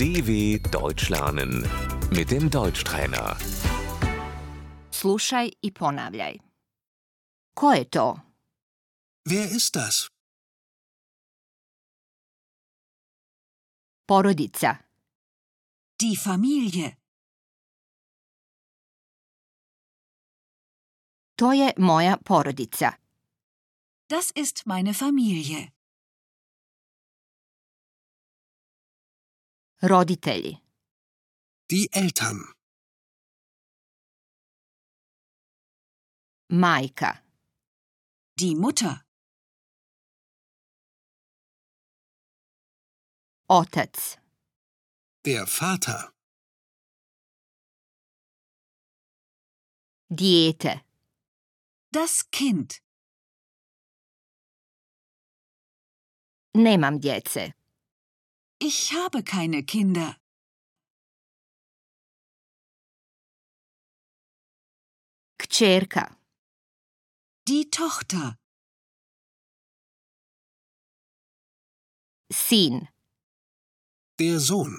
DW Deutsch lernen mit dem Deutschtrainer. Slušaj i ponavljaj. Ko je to? Wer ist das? Porodica. Die Familie. To je moja porodica. Das ist meine Familie. Roditelji. Die Eltern. Majka. Die Mutter. Otac. Der Vater. Dijete. Das Kind. Nemam djece. Ich habe keine Kinder. Kćerka. Die Tochter. Sin. Der Sohn.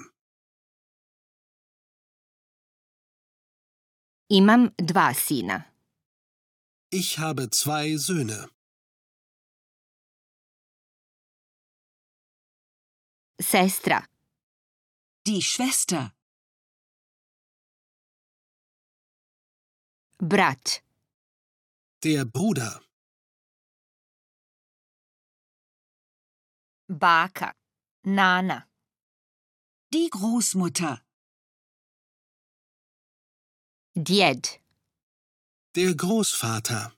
Imam dva sina. Ich habe zwei Söhne. Sestra. Die Schwester. Brat. Der Bruder. Baka. Nana. Die Großmutter. Djed. Der Großvater.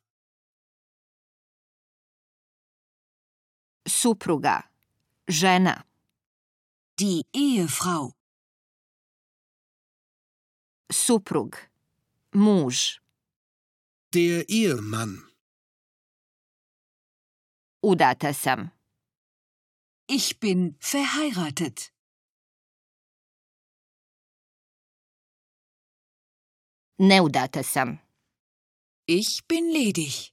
Supruga. Žena. Die Ehefrau. Suprug. Muž. Der Ehemann. Udata sam. Ich bin verheiratet. Neudata sam. Ich bin ledig.